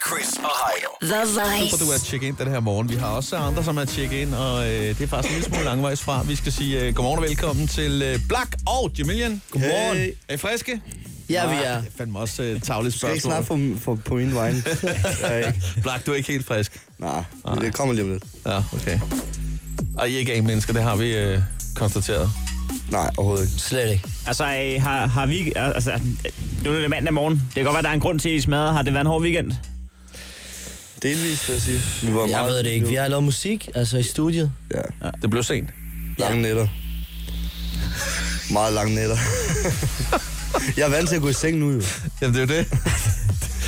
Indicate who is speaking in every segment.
Speaker 1: Chris og Heino.
Speaker 2: The Voice.
Speaker 3: Super, du er tjekke ind den her morgen. Vi har også andre, som er tjekke ind, og øh, det er faktisk en lille smule langvejs fra. Vi skal sige øh, godmorgen og velkommen til øh, Black og Jamilian. Godmorgen.
Speaker 4: Hey.
Speaker 3: Er I friske?
Speaker 4: Ja, vi
Speaker 3: Nej,
Speaker 4: er.
Speaker 3: Det er fandme også øh, tagligt
Speaker 4: Skal ikke snart
Speaker 3: spørgsmål.
Speaker 4: få, få på min vej.
Speaker 3: Black, du er ikke helt frisk.
Speaker 4: Nej, men det kommer lige om lidt.
Speaker 3: Ja, okay. Og I er ikke A-mennesker, det har vi øh, konstateret.
Speaker 4: Nej, overhovedet ikke.
Speaker 5: Slet ikke.
Speaker 6: Altså, øh, har, har vi... Altså, nu er det mandag morgen. Det kan godt være, der er en grund til, at I smadrer. Har det været en hård weekend?
Speaker 4: Delvis, vil jeg sige. Vi var
Speaker 5: Jeg
Speaker 4: meget-
Speaker 5: ved det ikke. Vi har lavet musik, altså i studiet.
Speaker 4: Ja,
Speaker 3: Det blev sent.
Speaker 4: lange nætter. Meget lange nætter. jeg er vant til at gå i seng nu, jo.
Speaker 3: Jamen, det er jo det.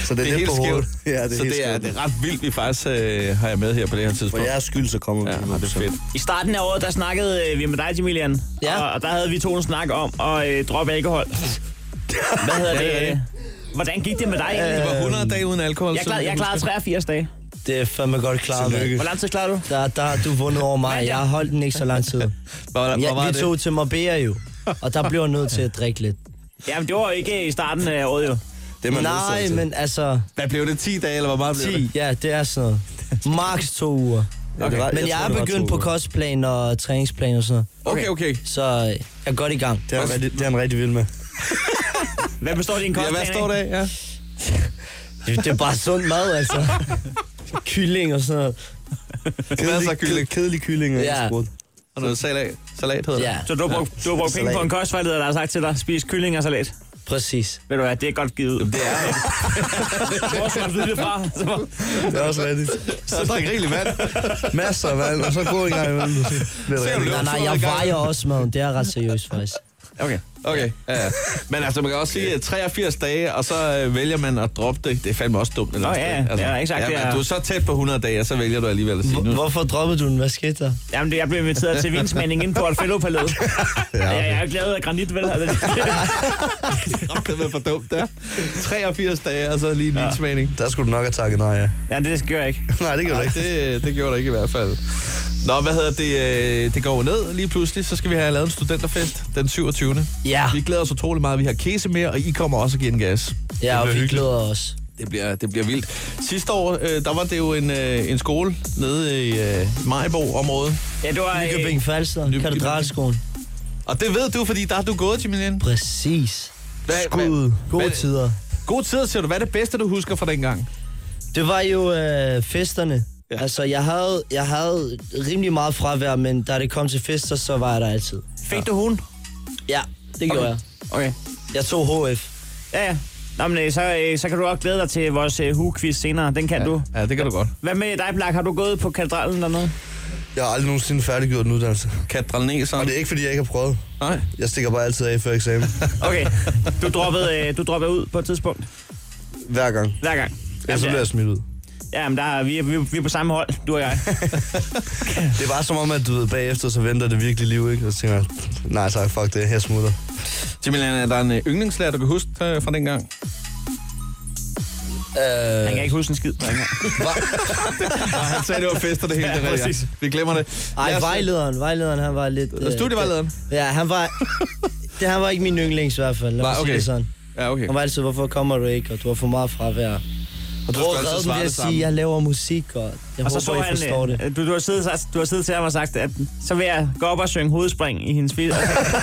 Speaker 4: Så det er,
Speaker 3: Det
Speaker 4: lidt
Speaker 3: er helt
Speaker 4: på hovedet.
Speaker 3: skævt.
Speaker 4: Ja, det er
Speaker 3: så
Speaker 4: helt
Speaker 3: det er,
Speaker 4: skævt.
Speaker 3: det er ret vildt, vi faktisk øh, har jer med her på det her
Speaker 4: For
Speaker 3: tidspunkt.
Speaker 4: jeres skyld, så kommer vi.
Speaker 3: Ja,
Speaker 4: nu,
Speaker 3: det er
Speaker 4: så.
Speaker 3: fedt.
Speaker 6: I starten af året, der snakkede øh, vi med dig, Jamilian.
Speaker 5: Ja.
Speaker 6: Og, og der havde vi to en snak om at øh, droppe alkohol. Hvad Øh, hedder det?
Speaker 3: Ja, ja.
Speaker 6: øh, Hvordan gik det med dig
Speaker 3: Det
Speaker 6: egentlig?
Speaker 3: var 100 dage uden alkohol.
Speaker 6: Jeg, klar, jeg klarede 83 dage.
Speaker 5: Det er fandme godt klaret,
Speaker 4: Tillykke.
Speaker 5: mand.
Speaker 6: Hvor lang tid klarer du?
Speaker 5: Der, der har du vundet over mig. Jeg har holdt den ikke så lang tid.
Speaker 3: Hvor, hvor var
Speaker 5: Ja, vi
Speaker 3: det?
Speaker 5: tog til Marbella jo, og der blev jeg nødt til at drikke lidt.
Speaker 6: Jamen, det var jo ikke øh, i starten af året, jo.
Speaker 4: Det er man
Speaker 5: Nej,
Speaker 4: nødsaget til.
Speaker 5: men altså,
Speaker 3: Hvad blev det? 10 dage, eller hvor meget blev det?
Speaker 5: 10, ja, det er sådan noget. Max to uger.
Speaker 4: Ja, det var-
Speaker 5: Men jeg
Speaker 4: tror,
Speaker 5: er
Speaker 4: det var
Speaker 5: begyndt
Speaker 4: to
Speaker 5: på
Speaker 4: uger.
Speaker 5: kostplan og træningsplan og sådan noget.
Speaker 3: Okay, okay.
Speaker 5: Så øh, jeg er godt i gang.
Speaker 4: Det er, han rigtig, det er han rigtig vild med.
Speaker 6: Hvad består din
Speaker 3: Ja,
Speaker 6: kostplan
Speaker 3: hvad står der af? Ja.
Speaker 5: Det, det er bare sund mad, altså. Kylling og sådan noget.
Speaker 3: Masser af kylling.
Speaker 4: kedelig kylling og
Speaker 5: Ja.
Speaker 4: ja.
Speaker 3: Og noget salat, salat hedder
Speaker 5: Ja,
Speaker 3: det.
Speaker 6: Så du har brugt, du har brugt penge på en kostvejleder, der har sagt til dig, spis kylling og salat.
Speaker 5: præcis.
Speaker 6: Ved du hvad, det er godt givet ud. Det er det. Hvor skal du flytte det fra? Så var-
Speaker 4: Det er også rigtigt.
Speaker 3: Så drik rigeligt vand.
Speaker 4: Masser af vand, og så gå en gang imellem. du siger. Det er
Speaker 3: Ser du
Speaker 4: rigtigt.
Speaker 3: det?
Speaker 5: Nej, nej, jeg vejer også maden. Det er ret seriøst, faktisk.
Speaker 6: Okay.
Speaker 3: Okay, ja, ja. Men altså, man kan også sige øh, 83 dage, og så øh, vælger man at droppe det. Det er fandme også dumt. Eller
Speaker 6: Nå, ja,
Speaker 3: altså,
Speaker 6: ja, exakt, det
Speaker 3: men
Speaker 6: er-
Speaker 3: Du er så tæt på 100 dage, og så vælger du alligevel at sige nu.
Speaker 5: Hvor- Hvorfor droppede du den? Hvad skete der?
Speaker 6: Jamen, det- jeg blev inviteret til vinsmænding inde på Alfello Palæet. ja, Jeg jeg er jo ikke lavet af granit, vel? Altså,
Speaker 3: Det er for dumt, der. 83 dage, og så lige en ja. vinsmagning.
Speaker 4: Der skulle du nok have takket nej, ja.
Speaker 6: ja, det skal jeg ikke.
Speaker 4: Nej, det kan du
Speaker 3: Nej,
Speaker 4: ikke.
Speaker 3: det, det gjorde der ikke i hvert fald. Nå, hvad hedder det? øh, Det går jo ned lige pludselig. Så skal vi have lavet en studenterfest den 27.
Speaker 5: Ja,
Speaker 3: Vi glæder os utrolig meget. Vi har kese med, og I kommer også og giver en gas.
Speaker 5: Ah. ja og vi
Speaker 3: hyggeligt.
Speaker 5: glæder os.
Speaker 3: Det bliver, det bliver vildt. Sidste år, øh, der var det jo en, øh, en skole nede i øh, Majbo-området.
Speaker 6: Ja, det var... øh,
Speaker 5: Nykøbing Falster,
Speaker 3: Nykøbing.
Speaker 5: Katedralskolen.
Speaker 3: Og det ved du, fordi der har du gået, Jimilien.
Speaker 5: Præcis.
Speaker 3: Hvad-
Speaker 5: Skud.
Speaker 3: hvad-
Speaker 5: Gode
Speaker 3: hvad-
Speaker 5: tider.
Speaker 3: God tid, siger du. Hvad er det bedste, du husker fra dengang?
Speaker 5: Det var jo øh, festerne.
Speaker 3: Ja.
Speaker 5: Ja. Altså, jeg havde, jeg havde rimelig meget fravær, men da det kom til fester, så var jeg der altid.
Speaker 6: øh, Fik du hun?
Speaker 5: Ja, det gjorde okay. jeg.
Speaker 6: Okay.
Speaker 5: Jeg tog HF.
Speaker 6: Ja, ja. Nå, men øh, så, øh, så kan du også glæde dig til vores øh, quiz senere. Den kan ja. du.
Speaker 3: Ja, det kan du godt.
Speaker 6: Hvad med dig, Black? Har du gået på katedralen eller noget?
Speaker 4: Jeg har aldrig nogensinde færdiggjort en uddannelse.
Speaker 3: Kadralneser.
Speaker 4: Og det er ikke, fordi jeg ikke har prøvet.
Speaker 3: Nej.
Speaker 4: Jeg stikker bare altid af før eksamen.
Speaker 6: Okay. Du droppede, øh, du droppede ud på et tidspunkt.
Speaker 4: Hver gang.
Speaker 6: Hver gang.
Speaker 4: Ellers så
Speaker 6: Jamen,
Speaker 4: bliver
Speaker 6: ja,
Speaker 4: jeg smidt ud.
Speaker 6: jamen der, er- vi, er- vi, er- vi er på samme hold, du og jeg.
Speaker 4: Det er bare som om, at du ved, bagefter så venter det virkelig liv, ikke? Og så tænker jeg, nej tak, fuck det, jeg smutter.
Speaker 3: Jimilien, er der en øh, yndlingslærer, du kan huske øh, fra dengang?
Speaker 5: Øh,
Speaker 6: Han kan ikke huske en skid.
Speaker 3: Nej, han sagde, det var fester det hele.
Speaker 6: Ja,
Speaker 3: det er rigtigt.
Speaker 6: præcis.
Speaker 3: Vi glemmer det. Lad
Speaker 5: ej,
Speaker 3: os-
Speaker 5: vejlederen, vejlederen, han var lidt... Øh,
Speaker 3: Studievejlederen?
Speaker 5: Ja, han var... det, han var ikke min yndlings i hvert fald, lad
Speaker 3: Nej,
Speaker 5: mig sige
Speaker 3: okay.
Speaker 5: det sådan.
Speaker 3: Ja, okay.
Speaker 5: Han var altid, hvorfor kommer du ikke, og du har for meget fravær. Og du
Speaker 3: skulle altid
Speaker 5: har reddet
Speaker 3: svare
Speaker 5: mig ved
Speaker 3: det
Speaker 5: at
Speaker 3: samme.
Speaker 5: sige, jeg laver musik, og jeg
Speaker 6: Og
Speaker 5: håber,
Speaker 6: så så
Speaker 5: I
Speaker 6: han,
Speaker 5: forstår det.
Speaker 6: øh, du, du, har siddet, du har siddet til ham og sagt, at så vil jeg gå op og synge hovedspring i hendes video. Og så,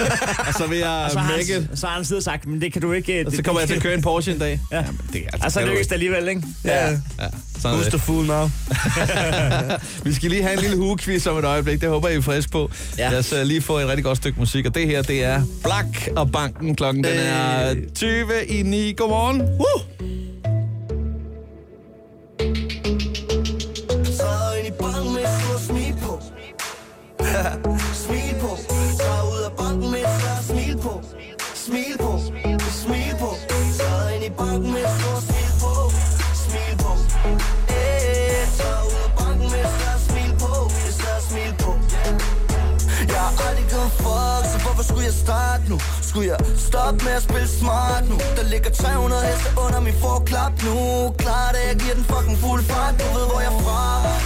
Speaker 3: Og så vil jeg
Speaker 6: og så, har,
Speaker 3: make it.
Speaker 6: han, så har han siddet og sagt, men det kan du ikke... øh,
Speaker 3: Og
Speaker 6: Det,
Speaker 3: så kommer jeg til at køre en Porsche en dag.
Speaker 6: Ja.
Speaker 3: Jamen, det er altså,
Speaker 6: Og så
Speaker 3: kan du
Speaker 6: lykkes
Speaker 3: ikke.
Speaker 6: det alligevel, ikke?
Speaker 4: Ja,
Speaker 3: Ja, sådan er
Speaker 4: who's
Speaker 3: det.
Speaker 4: the fool now?
Speaker 3: Vi skal lige have en lille hugekvist om et øjeblik. Det håber jeg, I er friske på. Ja.
Speaker 5: Ja.
Speaker 3: Lad os uh, lige få et rigtig godt stykke musik. Og det her, det er Black og Banken. Klokken den er 20 i 9. Godmorgen. Woo!
Speaker 7: Så ind i banken med et stort smil på Smil på Så ud af banken med et større smil på Smil på Smil på Så ind i banken med et stort smil på Smil på Eh, Så ud af banken med et større smil på Et større smil på jeg har aldrig givet fuck, så hvorfor skulle jeg starte nu? Skulle jeg stoppe med at spille smart nu? Der ligger 300 heste under min forklap nu Klar det jeg giver den fucking fuld fart Du ved hvor jeg er fra,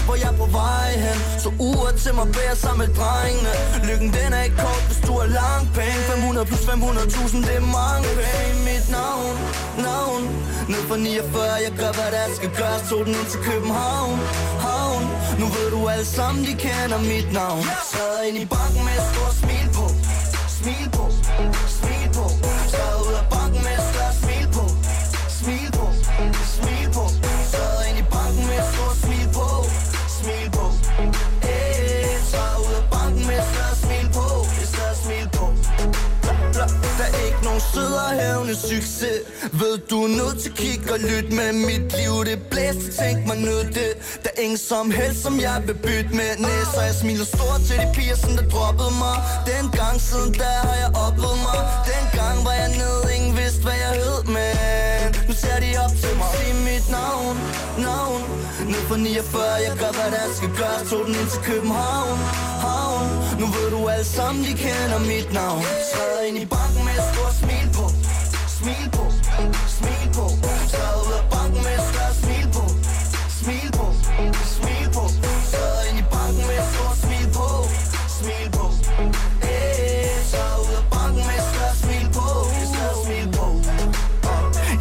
Speaker 7: hvor jeg er på vej hen Så uret til mig bærer sammen med drengene Lykken den er ikke kort, hvis du har langt penge 500 plus 500.000, det er mange penge Mit navn, navn Ned fra 49, jeg gør hvad der skal gøres Tog den ind til København, havn Nu ved du alle sammen, de kender mit navn Sad ind i banken med et stort smil på Smil på, smil på Sad ud af banken med et større smil på Smil på, smil på Sad ind i banken med et stort smil på Smil på Eh, Sad ud af banken med et større smil på Et større smil på Bla, bla. Der er ikke nogen sød og hævende succes Ved du er nødt til at kigge og lytte med mit liv Det blæste, tænk mig nødt det Der er ingen som helst, som jeg vil bytte med Næs, og jeg smiler stort til de piger, som der droppede mig Den gang siden der har jeg oplevet mig Den gang var jeg nede, ingen vidste hvad jeg hed Men nu ser de op til mig Sig mit navn, navn Ned på 49, jeg gør hvad der skal gøres Tog den ind til København, havn Nu ved du alle sammen, de kender mit navn Træder ind i banken med et stort smil på Smil på, smil på Træder ud af banken med et større smil på Smil på, smil på Træder ind i banken med et stort smil på Smil på Eh, Træder ud af banken med et større smil på Et større smil på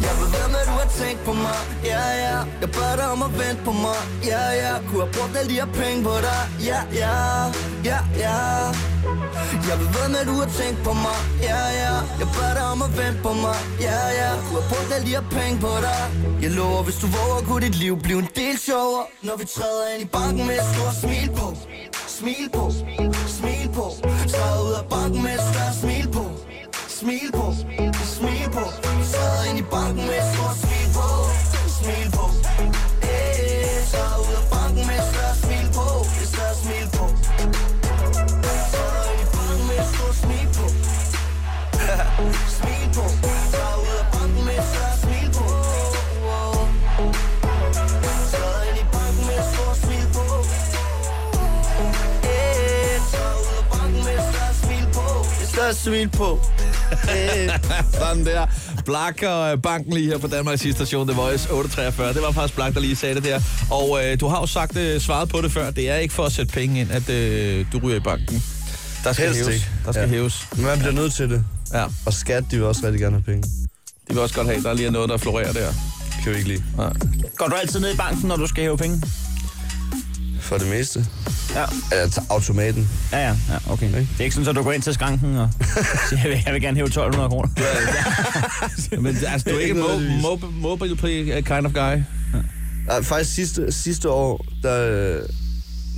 Speaker 7: jeg ved, hvem er du har tænkt på mig Ja, ja Jeg bad dig om at vente på mig Ja, ja Kunne have brugt alle de her penge på dig Ja, ja Ja, ja Jeg ved, hvem er du har tænkt på mig Ja, ja Jeg bad dig om at vente på mig Ja, ja Kunne have brugt alle de her penge på dig Jeg lover, hvis du våger Kunne dit liv blive en del sjovere Når vi træder ind i banken med et stort smil på Smil på Smil på Træder ud af banken med et større smil på Smil på Smil på Træder ind i banken med et stort smil på Smil på Eh, Træder ud af banken med et større smil på Et større smil på Træder ind i banken med et stort smil på Smil på Træder ud af banken med et større smil på Træder ind i banken med et stort smil på Eh, Træder ud af banken med et større smil på Et større smil på
Speaker 3: Sådan der. Black og øh, banken lige her på Danmarks sidste station, The Voice 843. Det var faktisk Black, der lige sagde det der. Og øh, du har jo sagt, øh, svaret på det før. Det er ikke for at sætte penge ind, at øh, du ryger i banken. Der skal
Speaker 4: Helst
Speaker 3: hæves.
Speaker 4: ikke.
Speaker 3: Der skal
Speaker 4: Ja.
Speaker 3: hæves.
Speaker 4: Men man bliver nødt til det.
Speaker 3: Ja,
Speaker 4: Og skat, de vil også rigtig gerne have penge.
Speaker 3: det vil også godt have. Der er lige noget, der florerer der.
Speaker 4: Kan vi ikke lide.
Speaker 3: Nej.
Speaker 6: Går du altid ned i banken, når du skal hæve penge?
Speaker 4: For det meste.
Speaker 6: Ja.
Speaker 4: Eller til automaten.
Speaker 6: Ja, ja, ja okay. Det er ikke sådan, at du går ind til skranken og siger, jeg vil, jeg vil gerne hæve 1200 kroner.
Speaker 3: Men altså, du er ikke
Speaker 4: Ikke
Speaker 3: mo-
Speaker 4: nødvendigvis.
Speaker 3: mo- mobile play kind of guy.
Speaker 4: Nej, faktisk sidste, sidste år, der, øh,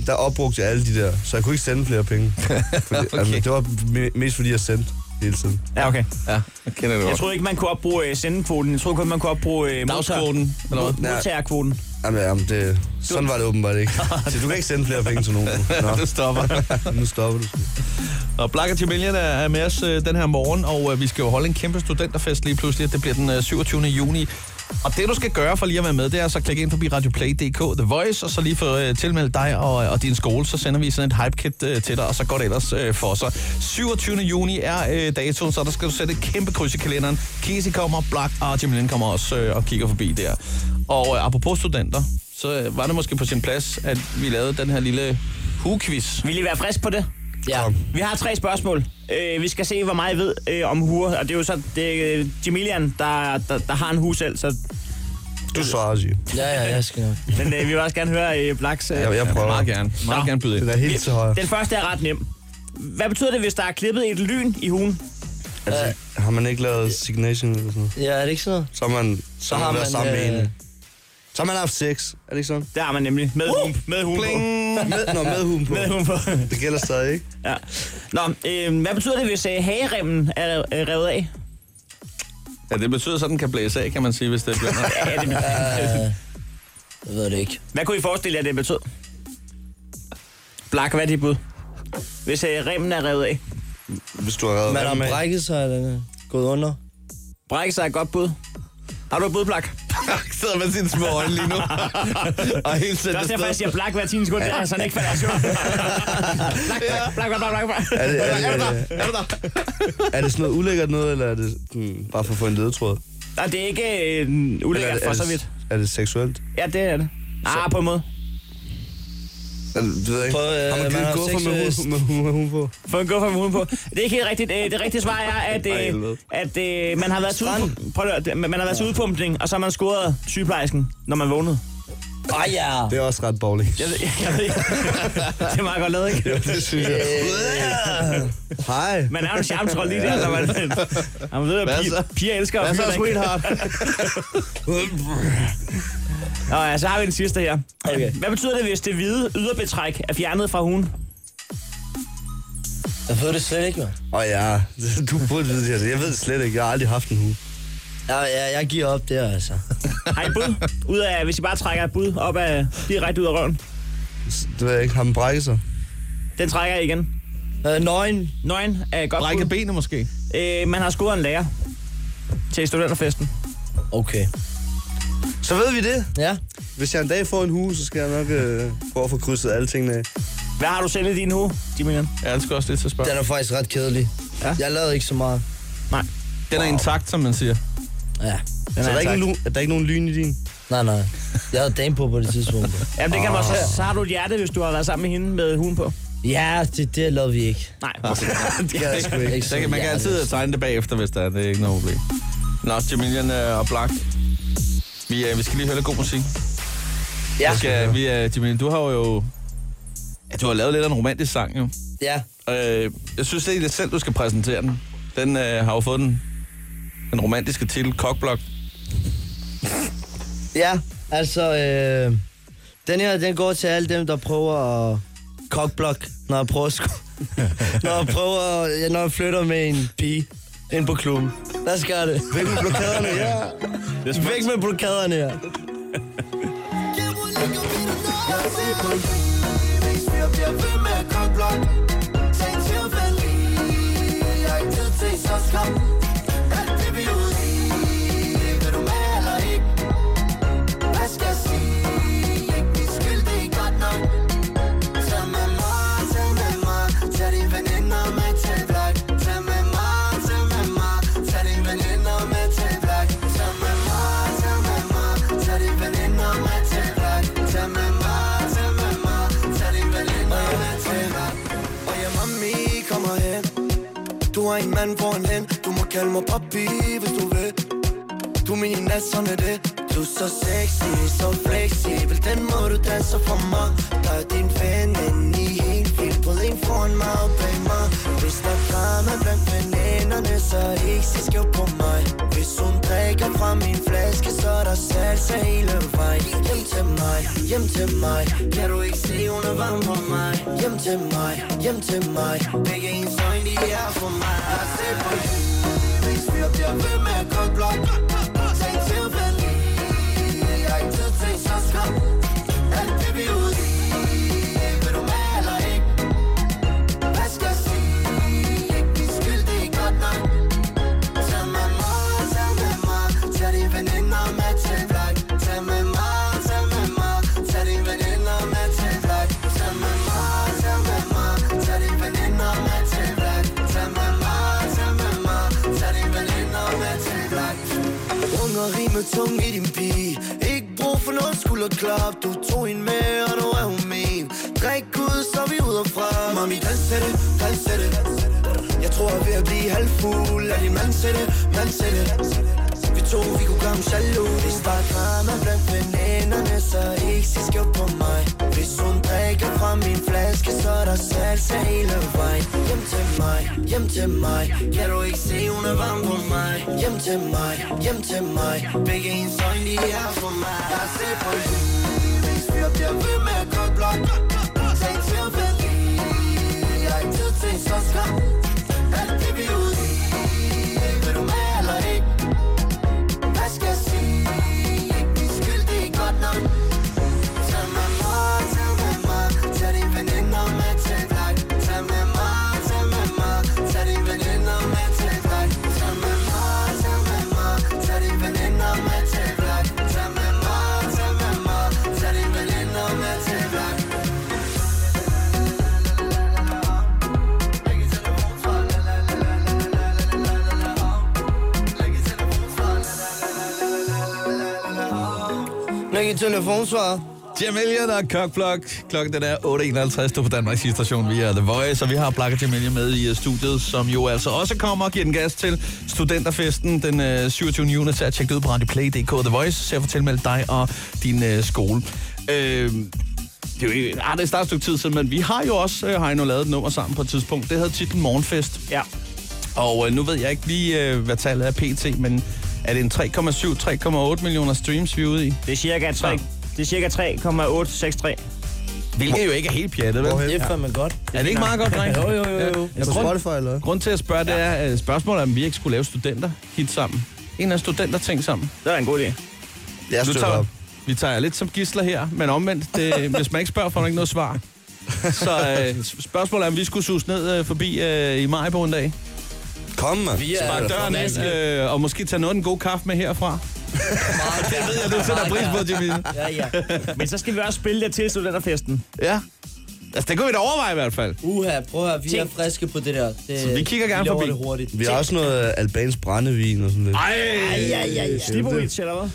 Speaker 4: der opbrugte jeg alle de der, så jeg kunne ikke sende flere penge. Fordi, okay. altså,
Speaker 3: Okay.
Speaker 4: det var me- mest fordi, jeg sendte hele tiden.
Speaker 6: Ja, okay.
Speaker 3: Ja, jeg kender det
Speaker 6: Jeg
Speaker 3: godt.
Speaker 6: troede ikke, man kunne opbruge øh, sendekvoten. Jeg troede kun, man kunne opbruge øh, modtager-
Speaker 3: Dagskvoten, eller hvad?
Speaker 6: mod- modtagerkvoten.
Speaker 4: Jamen, jamen det, sådan var det åbenbart ikke. Så du kan ikke sende flere penge til nogen.
Speaker 3: Det
Speaker 4: Nå,
Speaker 3: stopper.
Speaker 4: nu stopper du. sgu.
Speaker 3: Og Black Chameleon er- er med os øh, den her morgen, og øh, vi skal jo holde en kæmpe studenterfest lige pludselig. Det bliver den øh, 27. juni. Og det, du skal gøre for lige at være med, det er så at klikke ind forbi radioplay.dk, The Voice, og så lige få øh, tilmeldt dig og, og din skole. Så sender vi sådan et hype-kit øh, til dig, og så går det ellers øh, for sig. 27. juni er øh, datoen, så der skal du sætte et kæmpe kryds i kalenderen. Casey kommer, Black og Chameleon kommer også øh, og kigger forbi der. Og øh, apropos studenter, så øh, var det måske på sin plads, at vi lavede den her lille hugekviz.
Speaker 6: Vil I være frisk på det?
Speaker 5: Ja.
Speaker 6: Vi har tre spørgsmål. Øh, vi skal se, hvor meget I ved øh, om huer. Og det er jo så det er Jamilian, der, der, der har en hue selv. Så,
Speaker 4: Du svarer, Sige.
Speaker 5: Ja, ja, jeg skal nok.
Speaker 6: men øh, vi vil også gerne høre øh, Blaks... Øh.
Speaker 4: Jeg, jeg prøver.
Speaker 3: Meget gerne. Meget
Speaker 6: Nå.
Speaker 3: gerne byde ind.
Speaker 4: Den er helt til højre.
Speaker 6: Den første er ret nem. Hvad betyder det, hvis der er klippet et lyn i huen?
Speaker 4: Altså, har man ikke lavet signation eller sådan noget?
Speaker 5: Ja, er det ikke sådan noget?
Speaker 4: Så har man, så, så har man været sammen med en. Så har man haft sex. Er det ikke sådan?
Speaker 6: Der er man nemlig med uh, huen, med huen på.
Speaker 4: Med, når med huden på.
Speaker 6: Med huen på.
Speaker 4: Det gælder stadig, ikke?
Speaker 6: ja. Nå, øh, hvad betyder det, hvis øh, hageremmen er øh, revet af?
Speaker 3: Ja, det betyder, så den kan blæse af, kan man sige, hvis det begynder.
Speaker 6: Ja, det,
Speaker 5: Jeg ved det ikke.
Speaker 6: hvad kunne I forestille jer, det betød? Blak, hvad er dit bud? Hvis øh, remmen er revet af.
Speaker 4: Hvis du har reddet
Speaker 5: Man har brækket sig, eller den er gået under.
Speaker 6: Brække sig er et godt bud. Har du et bud, Blak?
Speaker 3: sidder med sine små øjne lige nu. og helt
Speaker 6: Det er
Speaker 3: sendt
Speaker 6: også derfor, jeg siger blak hver 10 sekunder, ja. så han ikke falder i søvn. blak, blak, blak, blak, blak, blak.
Speaker 4: Er det, er, det, er, det, er, det, er det sådan noget ulækkert noget, eller er det sådan, bare for at få en ledetråd?
Speaker 6: Nej, det er ikke øh,
Speaker 4: Eller er
Speaker 6: ulækkert
Speaker 4: det-
Speaker 6: for
Speaker 4: er
Speaker 6: så
Speaker 4: det-
Speaker 6: vidt.
Speaker 4: Er det seksuelt?
Speaker 6: Ja, det er det. Ah, på en måde.
Speaker 4: Er det, det ved jeg ikke.
Speaker 5: Prøv, øh,
Speaker 4: har man
Speaker 5: man
Speaker 4: givet
Speaker 5: har
Speaker 4: guffer
Speaker 5: sex,
Speaker 4: med,
Speaker 5: øh,
Speaker 4: hu- med, hu- med hun på?
Speaker 6: Få en guffer med huden på. Det er ikke helt rigtigt. Øh, Det rigtige svar er, at,
Speaker 4: Ej, helvede.
Speaker 6: øh, at øh, man har været til udpum- Prøv at høre, det- man man har været til udpumpning, og så har man scoret sygeplejersken, når man vågnede.
Speaker 5: Ej, ja.
Speaker 4: Det er også ret borgerligt.
Speaker 6: Jeg, ved- jeg, jeg ved ikke. Det er meget godt lavet, ikke?
Speaker 4: det synes jeg. Hej.
Speaker 6: Man er jo en charmetrol lige der, når man... Ja, man ved, at
Speaker 3: Hvad
Speaker 6: piger,
Speaker 3: så?
Speaker 6: piger elsker
Speaker 3: Hvad
Speaker 6: og
Speaker 3: så,
Speaker 6: fyre, ikke?
Speaker 3: sweetheart?
Speaker 6: Nå ja, så har vi den sidste her.
Speaker 5: Okay.
Speaker 6: Hvad betyder det, hvis det hvide yderbetræk er fjernet fra hun?
Speaker 5: Jeg ved det slet ikke, mand.
Speaker 4: Åh ja, du burde vide det her. Jeg ved det slet ikke. Jeg har aldrig haft en hue.
Speaker 5: Jeg, jeg, jeg giver op der, altså.
Speaker 6: Har I et bud? Ud af, hvis I bare trækker et bud op af, direkte ud af røven.
Speaker 4: Det ved jeg ikke. Har man brækket sig?
Speaker 6: Den trækker jeg igen.
Speaker 5: Øh, nøgen.
Speaker 6: Nøgen er et godt
Speaker 3: Brække
Speaker 6: bud.
Speaker 3: benet måske.
Speaker 6: Øh, man har scoret en lærer til studenterfesten.
Speaker 5: Okay.
Speaker 4: Så ved vi det.
Speaker 5: Ja.
Speaker 4: Hvis jeg en dag får en hue, så skal jeg nok øh, prøve at få krydset alle tingene af.
Speaker 6: Hvad har du selv i din hoved, Jimmy?
Speaker 3: Ja, det skal også lidt til at spørge.
Speaker 5: Den er faktisk ret kedelig.
Speaker 6: Ja.
Speaker 5: Jeg lavede ikke så meget.
Speaker 6: Nej.
Speaker 3: Den er intakt, som man siger.
Speaker 5: Ja.
Speaker 6: Den
Speaker 4: Så er der,
Speaker 6: altså
Speaker 4: ikke nogen, er der ikke nogen lyn i din?
Speaker 5: Nej, nej. Jeg havde dame på på det tidspunkt.
Speaker 6: Jamen, det kan man også. Så har du et hjerte, hvis du har været sammen med hende med hun på.
Speaker 5: Ja, det, det lavede vi ikke.
Speaker 6: Nej. det
Speaker 4: Ja, sgu ikke.
Speaker 5: ikke
Speaker 3: Så kan, man kan altid tegne det bagefter, hvis der er. Det er ikke noget problem. Nå, Jamilian øh, og Black. Vi, øh, vi skal lige høre lidt god musik.
Speaker 5: Ja.
Speaker 3: Vi skal, vi, øh, Jamilian, du har jo... Ja, du har lavet lidt af en romantisk sang, jo.
Speaker 5: Ja.
Speaker 3: Øh, jeg synes egentlig, det er selv, du skal præsentere den. Den øh, har jo fået den, den romantiske titel, Cockblock.
Speaker 5: Ja, altså, øh, den her, den går til alle dem, der prøver at cockblock, når jeg prøver at sku- når jeg prøver, ja, når jeg flytter med en pige ind på klubben. Lad os gøre det. Væk med blokaderne her. Væk med blokaderne her.
Speaker 7: Du er en mand på en hen Du må kalde mig papi, hvis du vil Du er min nat, sådan er det Du er så sexy, så fleksibel Den måde du danser for mig Der er din veninde i helt vildt Bryd en foran mig og bag mig Hvis der er drama blandt veninderne Så er det ikke så skæv på mig Hvis hun drikker fra min flaske Så er der salsa hele vejen Hjem til mig, hjem til mig Kan du ikke se, hun er varm på mig Hjem til mig, hjem til mig Begge ens øjne, de er for mig Jeg ser på hende Hvis vi bliver ved med at gå blot Tænk til venlig Jeg har ikke tid til en så skam Alt det vi er ude i Vil du med eller ikke? Hvad skal jeg sige? Ikke blive skyldig godt nok Tag med mig, tag med mig Tag dine veninder med til blok Tag med mig, tag med mig Tag dine veninder med til blok Tag med mig, tag med mig Tag dine veninder med til blok Tag med mig, tag med mig Tag dine veninder med til blok Ung og rig med tung i din pige Ikke brug for noget skulderklap Du tog hende med, og nu er hun min Drik ud, så er vi ud og fra Mami, dans til det, dans til det Jeg tror, jeg er ved at blive halvfuld Lad din mand til det, mand til det Vi to, vi kunne gøre ham jaloux Hvis der er drama blandt veninderne Så ikke sig skævt på mig Hvis hun drikker fra min flaske Så er der salsa hele vejen Hjem til mig, hjem til mig Kan du ikke se, hun er varm på mig Hjem til mig, hjem til mig Begge ens øjne, de er for mig Jeg ser på hende Hvis vi bliver ved med at gå blok Tænk til venlig Jeg har ikke tid til en så skam Alt det vi er ude i Vil du med eller ikke? Hvad skal jeg sige? Ikke blive skyldig godt nok Tag med mig, tag med mig Tag dine veninder med til blok Tag med mig, tag med mig Tag dine veninder med til blok Tag med mig, tag med mig Tag dine veninder med til blok Tag med mig, tag med mig Tag dine veninder med til blok Begge telefoner
Speaker 5: Når I telefonsvarer.
Speaker 3: Jamilian og Cockblock. Klokken den er 8.51. Du er på Danmarks station via The Voice, og vi har Black Jamilian med i øh, studiet, som jo altså også kommer og giver den gas til studenterfesten den øh, 27. juni. Så tjek det ud på radioplay.dk The Voice, så jeg får tilmeldt dig og din øh, skole. Øh, det er jo ikke, ah, det er snart et stykke tid siden, men vi har jo også, øh, Heino, lavet et nummer sammen på et tidspunkt. Det havde titlen Morgenfest.
Speaker 6: Ja.
Speaker 3: Og øh, nu ved jeg ikke lige, øh, hvad tallet er pt, men er det en 3,7-3,8 millioner streams, vi er ude i?
Speaker 6: Det er cirka 3.
Speaker 3: Så.
Speaker 6: Det er cirka 3,863.
Speaker 3: Hvilket jo ikke er helt pjattet, vel?
Speaker 5: Det er fandme godt.
Speaker 3: Er det ikke meget godt, dreng?
Speaker 5: Jo, jo, jo, jo.
Speaker 3: Ja.
Speaker 4: På
Speaker 3: Grund,
Speaker 4: Spotify, eller hvad?
Speaker 3: grund til at spørge, det er øh, spørgsmålet, om vi ikke skulle lave studenter hit sammen. En af studenter ting sammen.
Speaker 6: Det er en god idé.
Speaker 4: Jeg
Speaker 3: Nu
Speaker 4: støtter op.
Speaker 3: vi tager jer lidt som gidsler her, men omvendt, det, hvis man ikke spørger, får man ikke noget svar. Så øh, s- spørgsmålet er, om vi skulle sus ned øh, forbi øh, i maj på en dag.
Speaker 4: Kom, mand.
Speaker 5: Vi er
Speaker 3: Spark døren ind, øh, og måske tage noget af den gode kaffe med herfra. Det ved jeg, du sætter pris på, Jimmy.
Speaker 5: Ja, ja.
Speaker 6: Men så skal vi også spille det til studenterfesten.
Speaker 3: Ja. Altså, det kunne vi da overveje i hvert fald.
Speaker 5: Uha, prøv at høre, vi er
Speaker 6: Tænk.
Speaker 5: friske på det der. Det,
Speaker 3: Så vi kigger gerne
Speaker 5: vi laver
Speaker 3: forbi.
Speaker 5: det hurtigt.
Speaker 4: Vi har også noget øh, albansk brændevin og sådan lidt.
Speaker 3: Ej!
Speaker 6: Ja, ja, ja. Slibovic, eller hvad?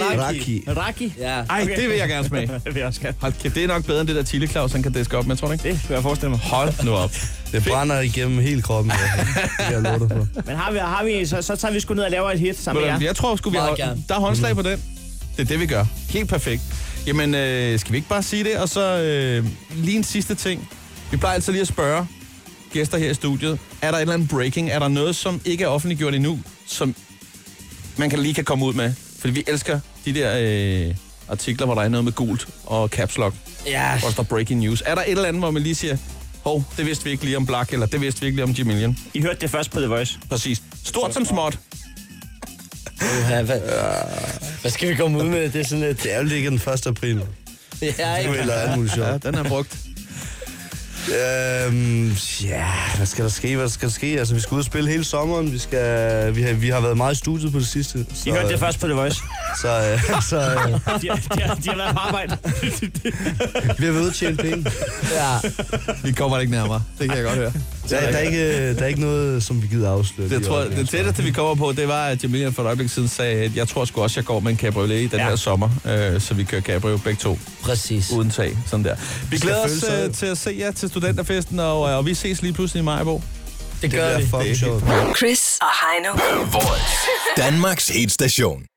Speaker 3: Nej!
Speaker 4: Raki.
Speaker 6: Raki?
Speaker 5: Ja.
Speaker 3: Ej, det vil jeg gerne smage.
Speaker 6: Det vil jeg også gerne.
Speaker 3: Hold kæft, det er nok bedre end det der Tille Claus, han kan diske op med, tror du ikke?
Speaker 6: Det kunne jeg forestille mig.
Speaker 3: Hold nu op.
Speaker 4: Det brænder igennem hele kroppen. altså. Det kan jeg love dig for.
Speaker 6: Men har vi, har vi så, så tager vi sgu ned og laver et hit sammen med jer.
Speaker 3: Ja. Jeg tror sgu, vi har,
Speaker 5: Meget gerne.
Speaker 3: der er håndslag på den. Det er det, vi gør. Helt perfekt. Jamen, øh, skal vi ikke bare sige det? Og så øh, lige en sidste ting. Vi plejer altid lige at spørge gæster her i studiet, er der et eller andet breaking? Er der noget, som ikke er offentliggjort endnu, som man kan lige kan komme ud med? Fordi vi elsker de der øh, artikler, hvor der er noget med gult og caps lock,
Speaker 5: Ja,
Speaker 3: hvor der står breaking news. Er der et eller andet, hvor man lige siger, hov, det vidste vi ikke lige om Black, eller det vidste vi ikke lige om Jimillion?
Speaker 6: I hørte det først på The Voice.
Speaker 3: Præcis. Stort som småt.
Speaker 5: uha, hvad, hvad skal vi komme ud med? Det er sådan lidt...
Speaker 4: øh, Det er jo ikke den 1. april.
Speaker 5: Ja,
Speaker 4: Nu
Speaker 5: ikke?
Speaker 4: eller alt muligt sjovt.
Speaker 3: Ja, den er brugt.
Speaker 4: Øhm, ja, hvad skal der ske? Hvad skal der ske? Altså, vi skal ud og spille hele sommeren. Vi, skal, vi, har, vi har været meget i studiet på det sidste. Så,
Speaker 6: I hørte det
Speaker 4: øh,
Speaker 6: først på The Voice.
Speaker 4: Så, øh, så øh,
Speaker 6: De har, de har, de har været på arbejde.
Speaker 4: vi har været ude at tjene penge.
Speaker 5: Ja.
Speaker 3: Vi kommer det ikke nærmere. Det kan jeg godt høre.
Speaker 4: Der, der, er ikke, der er ikke noget, som vi gider afsløre.
Speaker 3: Det,
Speaker 4: lige
Speaker 3: tror,
Speaker 4: i øjeblikket.
Speaker 3: det tætteste, vi kommer på, det var, at Jamilian for et øjeblik siden sagde, at jeg tror sgu også, jeg går med en cabriolet i den
Speaker 6: Ja.
Speaker 3: her sommer. Øh, så vi kører cabrio begge to,
Speaker 5: Præcis.
Speaker 3: uden tag. Sådan der. Vi glæder
Speaker 4: føles
Speaker 3: os
Speaker 4: ad.
Speaker 3: øh, til at se jer til studenterfesten, og, øh, og vi ses lige pludselig i Majbo.
Speaker 5: Det gør
Speaker 4: Det
Speaker 5: vi.
Speaker 4: er fucking sjovt.
Speaker 2: Chris og Heino.
Speaker 8: Danmarks hitstation.